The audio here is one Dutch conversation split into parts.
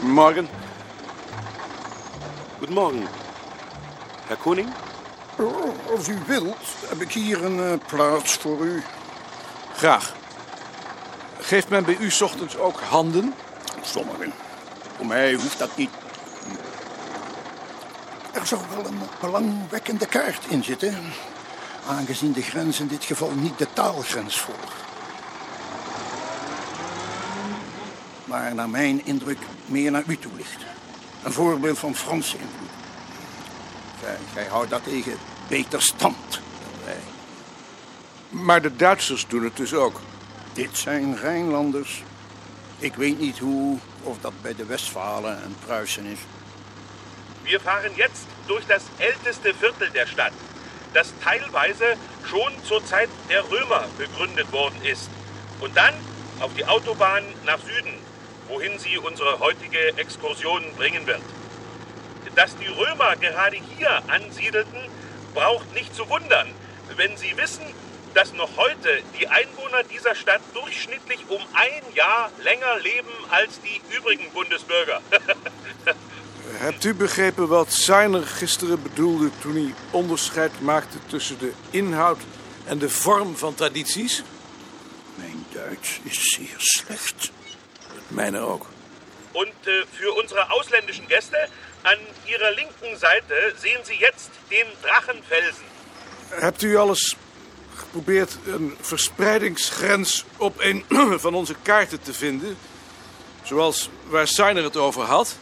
Guten Morgen. Guten Morgen. Herr Koning? Als u wilt, heb ik hier een eh, plaats voor u. Graag. Geeft men bij u 's ochtends ook handen? Sommigen. Voor mij hoeft dat niet. Er zou wel een belangwekkende kaart in zitten. Aangezien de grens in dit geval niet de taalgrens volgt. Maar naar mijn indruk meer naar u toe ligt. Een voorbeeld van Franse invloed. Gij, gij houdt dat tegen beter stand. dan wij. Maar de Duitsers doen het dus ook. Dit zijn Rijnlanders. Ik weet niet hoe of dat bij de Westfalen en Pruisen is. Wir fahren jetzt durch das älteste Viertel der Stadt, das teilweise schon zur Zeit der Römer gegründet worden ist. Und dann auf die Autobahn nach Süden, wohin sie unsere heutige Exkursion bringen wird. Dass die Römer gerade hier ansiedelten, braucht nicht zu wundern, wenn sie wissen, dass noch heute die Einwohner dieser Stadt durchschnittlich um ein Jahr länger leben als die übrigen Bundesbürger. Hebt u begrepen wat Seiner gisteren bedoelde toen hij onderscheid maakte tussen de inhoud en de vorm van tradities? Mijn Duits is zeer slecht. Mijne ook. Und äh, für unsere ausländischen Gäste, an Ihrer linken Seite sehen Sie jetzt den Drachenfelsen. Hebt u alles geprobeerd een verspreidingsgrens op een van onze kaarten te vinden? Zoals waar Seiner het over had?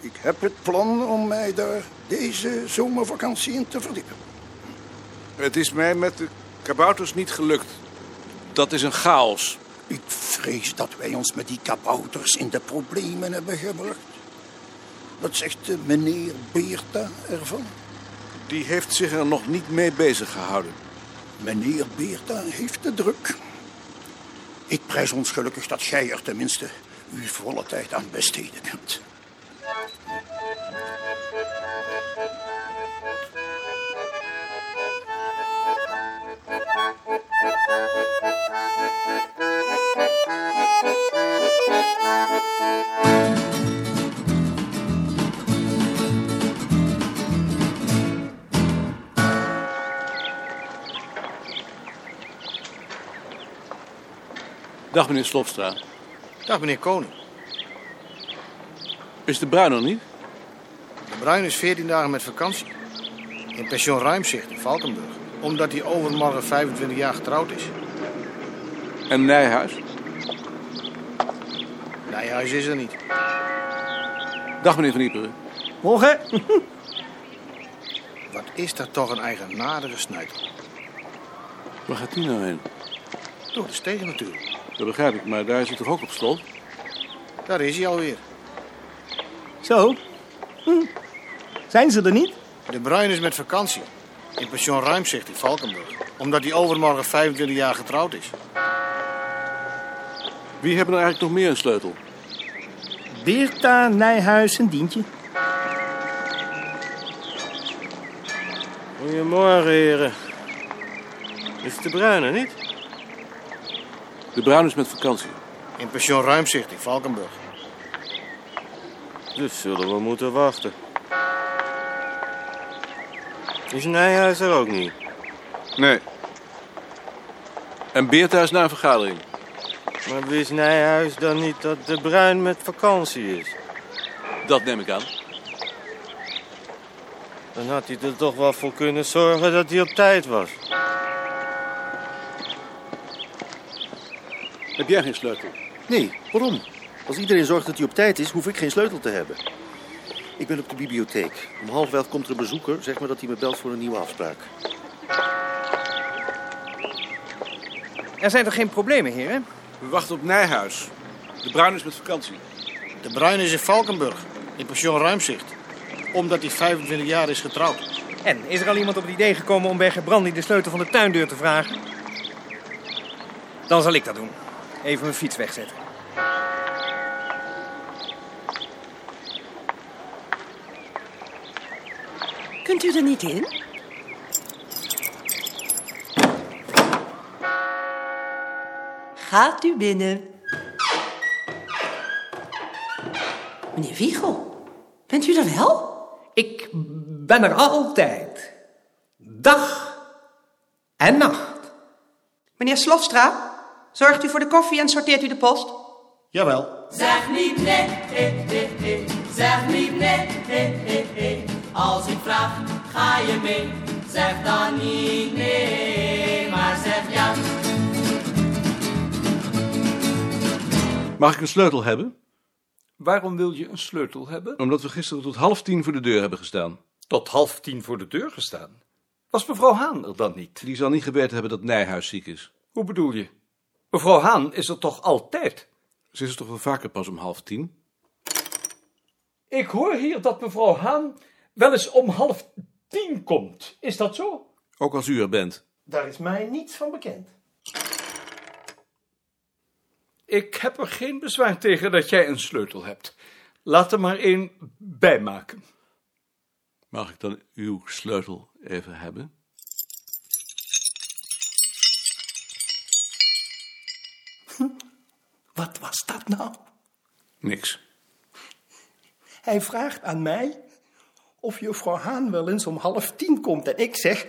Ik heb het plan om mij daar deze zomervakantie in te verdiepen. Het is mij met de kabouters niet gelukt. Dat is een chaos. Ik vrees dat wij ons met die kabouters in de problemen hebben gebracht. Wat zegt eh, meneer Beerta ervan? Die heeft zich er nog niet mee bezig gehouden. Meneer Beerta heeft de druk. Ik prijs ons gelukkig dat gij er tenminste uw volle tijd aan besteden kunt. Dag meneer Slopstra. Dag meneer Koning. Is de bruin er niet? De Bruin is 14 dagen met vakantie. In pension Ruimzicht in Valkenburg. Omdat hij overmorgen 25 jaar getrouwd is. En Nijhuis? Nijhuis is er niet. Dag meneer Van Ieperen. Morgen. Wat is dat toch een eigenaardige snuiter? Waar gaat die nou heen? Door de stegen natuurlijk. Dat begrijp ik, maar daar zit toch ook op slot? Daar is hij alweer. Zo. Hm. Zijn ze er niet? De Bruin is met vakantie. In pension Ruimzicht in Valkenburg. Omdat hij overmorgen 25 jaar getrouwd is. Wie hebben er eigenlijk nog meer een sleutel? Beerta, Nijhuis en Dientje. Goedemorgen, heren. Is de bruine niet? De bruin is met vakantie. In pension Ruimzicht in Valkenburg. Dus zullen we moeten wachten. Is Nijhuis er ook niet? Nee. En Beerta is naar een vergadering. Maar wist Nijhuis dan niet dat de bruin met vakantie is? Dat neem ik aan. Dan had hij er toch wel voor kunnen zorgen dat hij op tijd was. Heb jij geen sleutel? Nee, waarom? Als iedereen zorgt dat hij op tijd is, hoef ik geen sleutel te hebben. Ik ben op de bibliotheek. Om half elf komt er een bezoeker. Zeg maar dat hij me belt voor een nieuwe afspraak. Er zijn toch geen problemen, heren? We wachten op Nijhuis. De bruin is met vakantie. De Bruin is in Valkenburg. In pension Ruimzicht. Omdat hij 25 jaar is getrouwd. En is er al iemand op het idee gekomen om bij Gebrandi de sleutel van de tuindeur te vragen? Dan zal ik dat doen. Even mijn fiets wegzetten. Kunt u er niet in? Gaat u binnen. Meneer Wiegel, bent u er wel? Ik ben er altijd. Dag en nacht. Meneer Slofstra, zorgt u voor de koffie en sorteert u de post? Jawel. Zeg niet nee, eh, eh, eh. zeg niet nee, eh, eh, eh. Als ik vraag, ga je mee. Zeg dan niet nee, maar zeg ja. Mag ik een sleutel hebben? Waarom wil je een sleutel hebben? Omdat we gisteren tot half tien voor de deur hebben gestaan. Tot half tien voor de deur gestaan? Was mevrouw Haan er dan niet? Die zal niet geweten hebben dat Nijhuis ziek is. Hoe bedoel je? Mevrouw Haan is er toch altijd? Ze is er toch wel vaker pas om half tien? Ik hoor hier dat mevrouw Haan wel eens om half tien komt. Is dat zo? Ook als u er bent. Daar is mij niets van bekend. Ik heb er geen bezwaar tegen dat jij een sleutel hebt. Laat er maar één bijmaken. Mag ik dan uw sleutel even hebben? Wat was dat nou? Niks. Hij vraagt aan mij of juffrouw Haan wel eens om half tien komt. En ik zeg...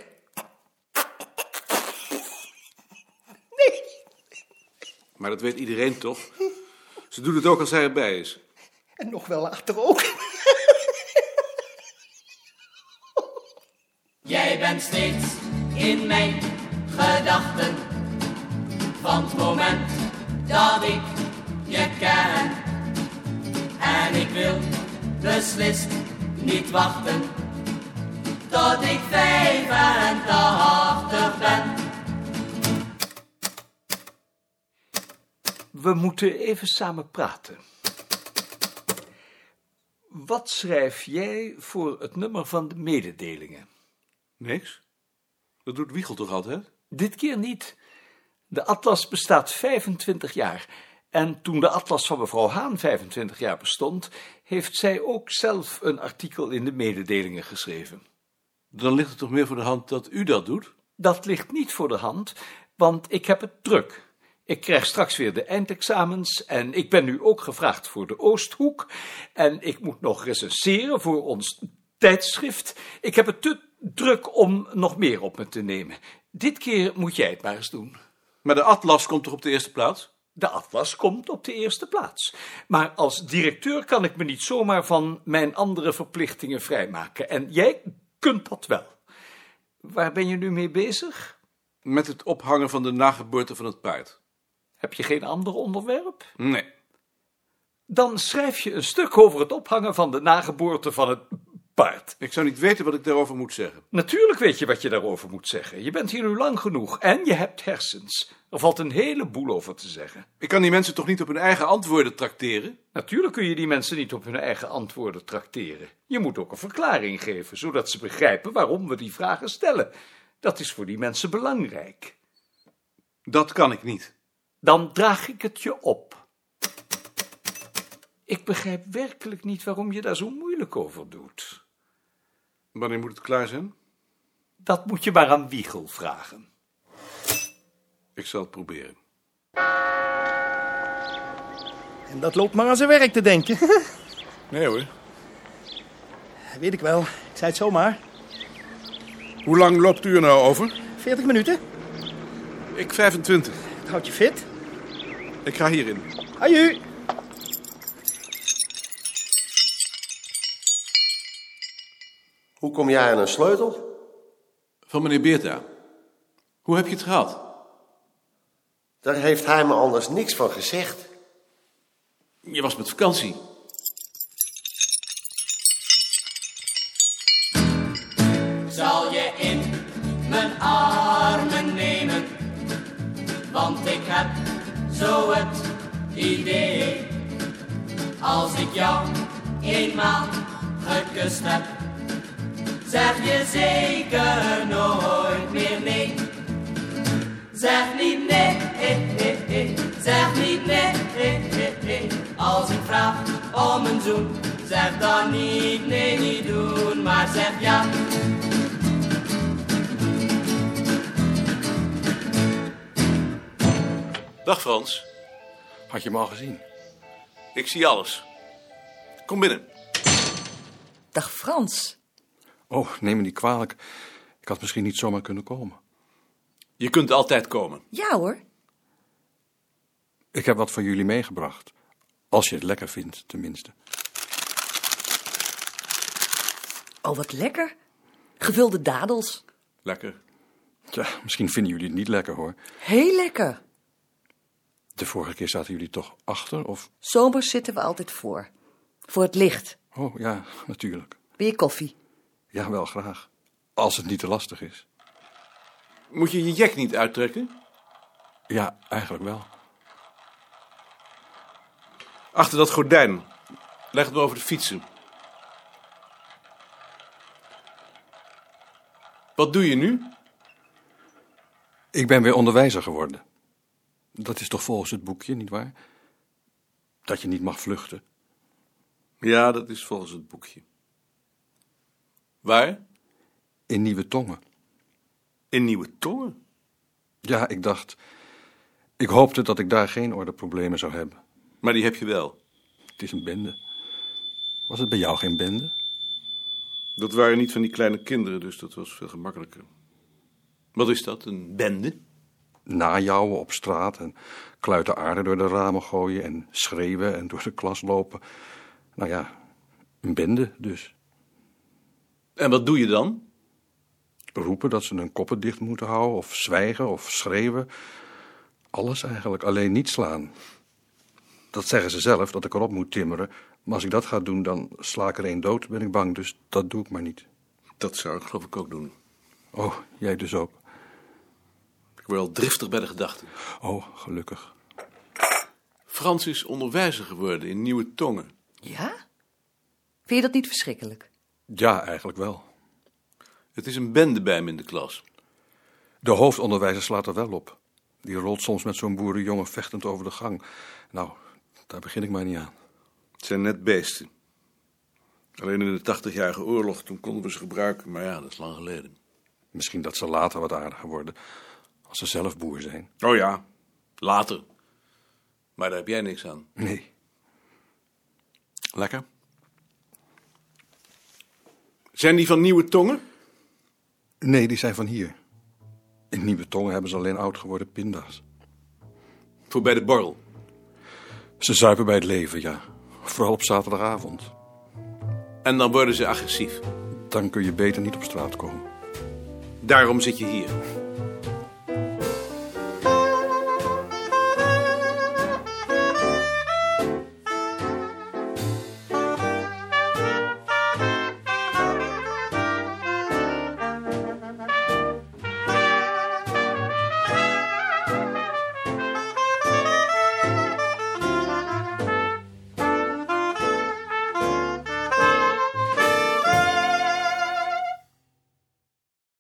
Nee. Maar dat weet iedereen toch? Ze doet het ook als hij erbij is. En nog wel later ook. Jij bent steeds in mijn gedachten. Van het moment dat ik je ken. En ik wil beslist niet wachten. Tot ik 85 ben. We moeten even samen praten. Wat schrijf jij voor het nummer van de mededelingen? Niks. Dat doet Wiegel toch altijd? Dit keer niet. De atlas bestaat 25 jaar. En toen de atlas van mevrouw Haan 25 jaar bestond, heeft zij ook zelf een artikel in de mededelingen geschreven. Dan ligt het toch meer voor de hand dat u dat doet? Dat ligt niet voor de hand, want ik heb het druk. Ik krijg straks weer de eindexamens en ik ben nu ook gevraagd voor de Oosthoek. En ik moet nog recenseren voor ons tijdschrift. Ik heb het te druk om nog meer op me te nemen. Dit keer moet jij het maar eens doen. Maar de atlas komt toch op de eerste plaats? De atlas komt op de eerste plaats. Maar als directeur kan ik me niet zomaar van mijn andere verplichtingen vrijmaken. En jij kunt dat wel. Waar ben je nu mee bezig? Met het ophangen van de nageboorte van het paard. Heb je geen ander onderwerp? Nee. Dan schrijf je een stuk over het ophangen van de nageboorte van het Paard. Ik zou niet weten wat ik daarover moet zeggen. Natuurlijk weet je wat je daarover moet zeggen. Je bent hier nu lang genoeg en je hebt hersens. Er valt een heleboel over te zeggen. Ik kan die mensen toch niet op hun eigen antwoorden tracteren? Natuurlijk kun je die mensen niet op hun eigen antwoorden tracteren. Je moet ook een verklaring geven, zodat ze begrijpen waarom we die vragen stellen. Dat is voor die mensen belangrijk. Dat kan ik niet. Dan draag ik het je op. Ik begrijp werkelijk niet waarom je daar zo moeilijk over doet. Wanneer moet het klaar zijn? Dat moet je maar aan Wiegel vragen. Ik zal het proberen. En dat loopt maar aan zijn werk te denken. nee hoor. Weet ik wel. Ik zei het zomaar. Hoe lang loopt u er nou over? 40 minuten. Ik 25. Dat houdt je fit. Ik ga hierin. Aju. Hoe kom jij aan een sleutel? Van meneer Beerta. Hoe heb je het gehad? Daar heeft hij me anders niks van gezegd. Je was met vakantie. Zal je in mijn armen nemen? Want ik heb zo het idee. Als ik jou eenmaal gekust heb, zeg je zeker nooit meer nee. Zeg niet nee, eh, eh, eh. zeg niet nee, eh, eh, eh. als ik vraag om een zoen. Zeg dan niet nee, niet doen, maar zeg ja. Dag Frans. Had je me al gezien? Ik zie alles. Kom binnen. Dag Frans. Oh, neem me niet kwalijk. Ik had misschien niet zomaar kunnen komen. Je kunt altijd komen. Ja hoor. Ik heb wat voor jullie meegebracht. Als je het lekker vindt, tenminste. Oh, wat lekker. Gevulde dadels. Lekker. Tja, misschien vinden jullie het niet lekker hoor. Heel lekker. De vorige keer zaten jullie toch achter, of? Zomers zitten we altijd voor. Voor het licht. Oh ja, natuurlijk. Wil je koffie? Ja, wel graag. Als het niet te lastig is. Moet je je jek niet uittrekken? Ja, eigenlijk wel. Achter dat gordijn. Leg het me over de fietsen. Wat doe je nu? Ik ben weer onderwijzer geworden. Dat is toch volgens het boekje, nietwaar? Dat je niet mag vluchten. Ja, dat is volgens het boekje. Waar? In Nieuwe Tongen. In Nieuwe Tongen? Ja, ik dacht. Ik hoopte dat ik daar geen ordeproblemen zou hebben. Maar die heb je wel. Het is een bende. Was het bij jou geen bende? Dat waren niet van die kleine kinderen, dus dat was veel gemakkelijker. Wat is dat, een bende? Najouwen op straat en kluiten aarde door de ramen gooien en schreeuwen en door de klas lopen. Nou ja, een bende dus. En wat doe je dan? Roepen dat ze hun koppen dicht moeten houden, of zwijgen of schreeuwen. Alles eigenlijk, alleen niet slaan. Dat zeggen ze zelf, dat ik erop moet timmeren. Maar als ik dat ga doen, dan sla ik er één dood, ben ik bang. Dus dat doe ik maar niet. Dat zou ik geloof ik ook doen. Oh, jij dus ook. Ik word al driftig bij de gedachten. Oh, gelukkig. Frans is onderwijzer geworden in Nieuwe Tongen. Ja? Vind je dat niet verschrikkelijk? Ja, eigenlijk wel. Het is een bende bij hem in de klas. De hoofdonderwijzer slaat er wel op. Die rolt soms met zo'n boerenjongen vechtend over de gang. Nou, daar begin ik maar niet aan. Het zijn net beesten. Alleen in de 80-jarige oorlog, toen konden we ze gebruiken, maar ja, dat is lang geleden. Misschien dat ze later wat aardiger worden, als ze zelf boer zijn. Oh ja, later. Maar daar heb jij niks aan. Nee. Lekker. Zijn die van Nieuwe Tongen? Nee, die zijn van hier. In Nieuwe Tongen hebben ze alleen oud geworden pinda's. Voor bij de borrel? Ze zuipen bij het leven, ja. Vooral op zaterdagavond. En dan worden ze agressief? Dan kun je beter niet op straat komen. Daarom zit je hier.